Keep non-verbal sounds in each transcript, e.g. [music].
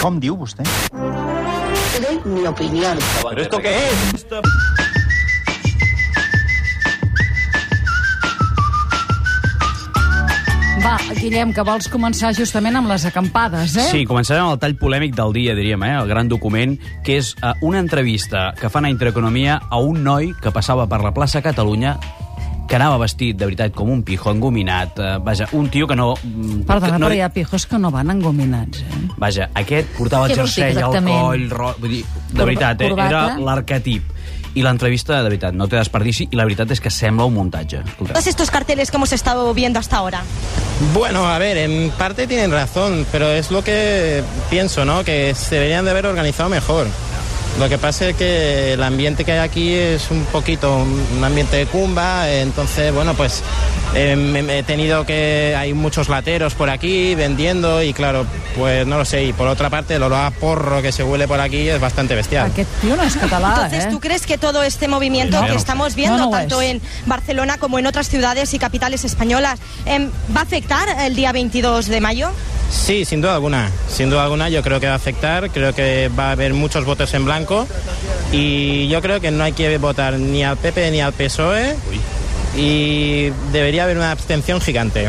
Com diu vostè? Te doy mi opinión. ¿Pero esto qué es? Va, Guillem, que vols començar justament amb les acampades, eh? Sí, començarem amb el tall polèmic del dia, diríem, eh? el gran document, que és eh, una entrevista que fan a Intereconomia a un noi que passava per la plaça Catalunya que anava vestit, de veritat, com un pijo engominat. Eh, vaja, un tio que no... mm, que Perdona, no... no, però hi ha pijos que no van engominats, eh? Vaja, aquest portava el Què vol dir jersei al exactament? coll, ro... vull dir, de Corba- veritat, eh? era corbata? l'arquetip. I l'entrevista, de veritat, no té desperdici, i la veritat és que sembla un muntatge. Escolteu. Todos estos carteles que hemos estado viendo hasta ahora. Bueno, a ver, en parte tienen razón, pero es lo que pienso, ¿no? Que se deberían de haber organizado mejor. Lo que pasa es que el ambiente que hay aquí es un poquito un un ambiente de cumba, eh, entonces, bueno, pues eh, me- me he tenido que... Hay muchos lateros por aquí vendiendo y claro, pues no lo sé. Y por otra parte, el olor a porro que se huele por aquí es bastante bestial. Aquest tio no és català, Entonces, eh? ¿tú crees que todo este movimiento No. que estamos viendo, No, no tanto es. en Barcelona como en otras ciudades y capitales españolas, em, va a afectar el día 22 de mayo? Sí, sin duda alguna. Sin duda alguna yo creo que va a afectar, creo que va a haber muchos votos en blanco y yo creo que no hay que votar ni al PP ni al PSOE E. y debería haber una abstención gigante.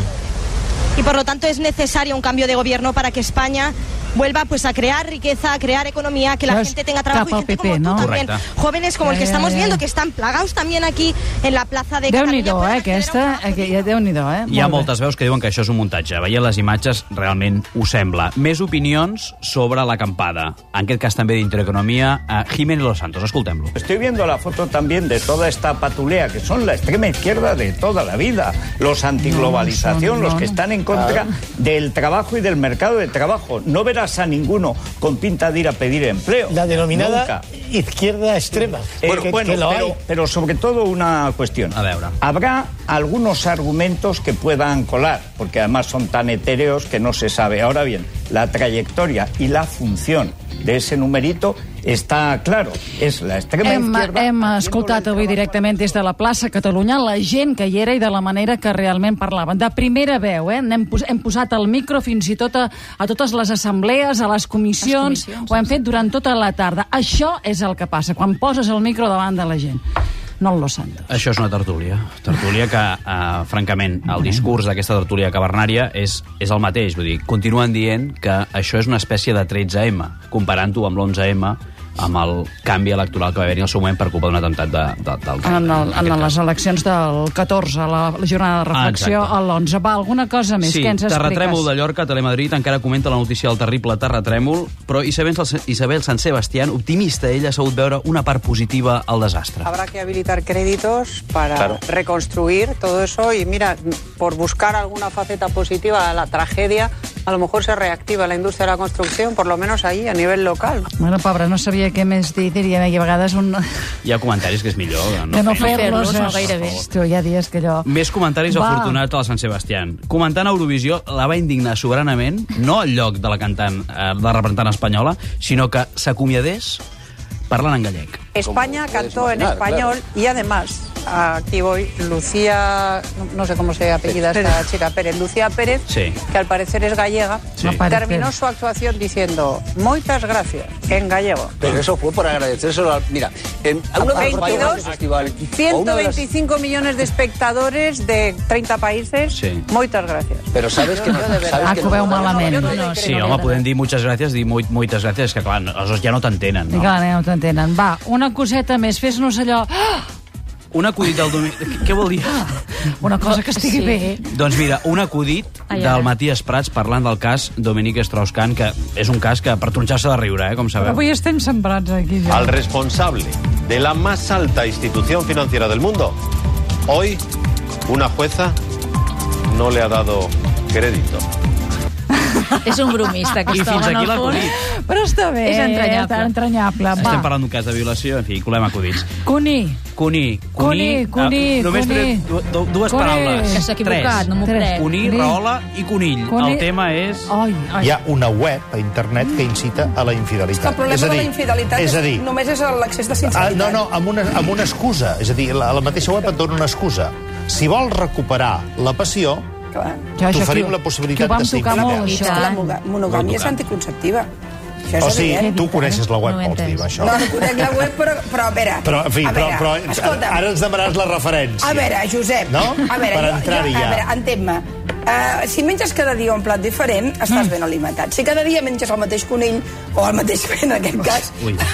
Y por lo tanto es necesario un cambio de gobierno para que España vuelva pues a crear riqueza, a crear economía, que la Claro, es gente tenga trabajo y capa gente PP, como ¿no? Eh. tú también, Correcto. jóvenes como el Ya, que ya, estamos ya, viendo ya. que están plagados también aquí en la plaza de Déu-n'hi-do, Cataluña, pues, eh, pueden acceder a un aquesta. trabajo Aquí, digno. ja Déu-n'hi-do, eh? Hi ha Molt bé. moltes veus que diuen que això és un muntatge. Veient les imatges, realment ho sembla. Més opinions sobre l'acampada. En aquest cas també d'Intereconomia, a Jiménez Los Santos. Escoltem-lo. Estoy viendo la foto también de toda esta patulea, que son la extrema izquierda de toda la vida. Los No, no antiglobalización, son, los no, que no. están en contra del trabajo y del mercado de trabajo. No verás a ninguno con pinta de ir a pedir empleo. La denominada Nunca. izquierda extrema. Eh, Bueno, que- bueno, que lo pero- hay. pero sobre todo una cuestión. A ver, ahora. Habrá algunos argumentos que puedan colar, porque además son tan etéreos que no se sabe. Ahora bien, la trayectoria y la función de ese numerito está claro. Es la extrema Hem, izquierda. hem haciéndole escoltat el avui trabajo. directament des de la plaça Catalunya la gent que hi era i de la manera que realment parlaven. De primera veu, eh? Hem, pos hem posat el micro fins i tot a, a totes les assemblees, a les comissions, Les comissions, ho hem fet durant tota la tarda. Això és el que passa quan poses el micro davant de la gent. No el Los Santos. Això és una tertúlia. Tertúlia que, eh, francament, el discurs d'aquesta tertúlia cavernària és, és el mateix. Vull dir, continuen dient que això és una espècie de 13M, comparant-ho amb l'11M, amb el canvi electoral que va haver-hi al seu moment per culpa d'un atemptat de, de, del En, el, aquest en cas. les eleccions del 14, la, la jornada de reflexió, exacte. a l'11. Va, alguna cosa més? sí, Què ens terratrèmol expliques? de Llorca, Telemadrid, encara comenta la notícia del terrible terratrèmol, però Isabel, Isabel Sant Sebastián, optimista, ella ha sabut veure una part positiva al desastre. Habrá que habilitar créditos para Claro. reconstruir todo eso y mira, por buscar alguna faceta positiva a la tragedia, a lo mejor se reactiva la industria de la construcción, por lo menos allí a nivel local. Bueno, pobra, no sabia què més dir. Diria, i a vegades un... [laughs] Hi ha comentaris que és millor. que No, no fer-los. fer-los, fer-los, no, eh? gairebé. Hòstia, hi ha dies que allò... Més comentaris Va. afortunats a la Sant Sebastián. Comentant Eurovisió, la va indignar soberanament, no al lloc de la cantant, eh, de la representant espanyola, sinó que s'acomiadés parlant en gallec. España cantó en español y además, aquí voy, Lucía, no, no sé cómo se apellida esta chica Pérez, Lucía Pérez, Sí. que al parecer es gallega, Sí. No parece. terminó su actuación diciendo, muchas gracias, en gallego. Pero eso fue por agradecérselo. al- Mira, en a uno de los bailes del 22, festival. o uno de las- 125 millones de espectadores de 30 países. Sí. Muchas gracias. Pero sabes que no. sabes Ah, que que ho veu malament. No, no, No, no, Sí, home, podem dir moltes gràcies, dir molt, moltes gràcies, que clar, no, aleshores ja no t'entenen. I No? clar, no t'entenen. Va, una coseta més, fes-nos allò... [gasps] Ah! Un acudit del domini... Què vol dir? Una cosa que estigui Sí. bé. Doncs mira, un acudit Ai, ara. del Matías Prats parlant del cas Dominique Strauss-Kahn, que és un cas que per tronxar-se de riure, eh, com sabeu. Avui estem sembrats aquí, ja. al responsable de la más alta institución financiera del mundo, hoy una jueza no le ha dado crédito. És un bromista, I aquest home, fins en aquí el fons. l'acudit. Però està bé. És entranyable. Està entranyable. Va, Estem parlant d'un cas de violació, en fi, colem acudits. Cuní. Cuní, Cuní, cuní... cuní, ah, només cuní. tres- du- du- dues Cuní. paraules. Que s'ha equivocat, Tres. no m'ho Tres. crec. Cuní, Cuní. raola i conill. Cuní. Oh. El tema és... Ai, ai. Hi ha una web a internet que incita a la infidelitat. El problema és a dir, de la infidelitat és a dir, només és l'accés de sinceritat. Ah, no, no, amb una, amb una excusa. És a dir, la, la mateixa web et dona una excusa. Si vols recuperar la passió, Clar. Ja, això t'oferim qui ho- la qui ho possibilitat vam de ser tocar molt, infidel. això. eh? És que la moga- monogàmia és anticonceptiva. O sigui, tu coneixes la web, vols dir, amb Oh, això. No, no conec la web, però, però a veure... Però, en fi, a però, veure, però escolta'm. ara ens demanaràs la referència. A veure, Josep, No? a veure, Per jo- entrar-hi jo- ja. A veure, entén-me. Uh, si menges cada dia un plat diferent, estàs ben alimentat. Si cada dia menges el mateix conill, o el mateix [laughs] pet, en aquest cas... Ui. [laughs]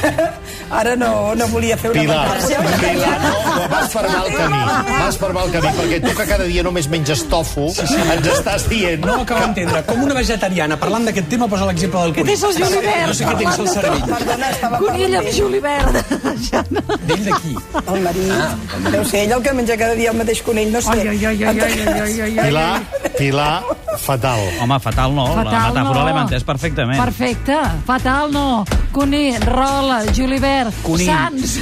Ara no, no volia fer una Pilar, comparació. Pilar, [laughs] no, vas per mal camí, vas per mal camí, perquè tu que cada dia només menges tofu, ens estàs dient... No ho acabo d'entendre. Com una vegetariana, parlant d'aquest tema, posa l'exemple del conill. tens el julivert, No sé què tens al parlant de tot. cervell. Perdona, estava Conill amb julivert. D'ell d'aquí. El marit. Deu ser ell el que menja cada dia el mateix conill, no sé. Ah. Ai, ai, ai, ai, ai, ai, ai, Pilar, Pilar, fatal. Home, fatal no, la Fatal metàfora no. l'hem entès perfectament. Perfecte. Fatal, no. Conill, Rola, Julivert, Conill. Sants.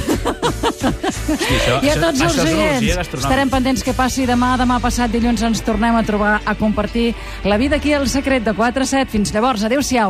això- I a això- tots això els és una orgia oients. gastronòmica. Estarem pendents que passi demà. Demà passat dilluns ens tornem a trobar a compartir la vida aquí al Secret de 4 a 7. Fins llavors, adeu-siau.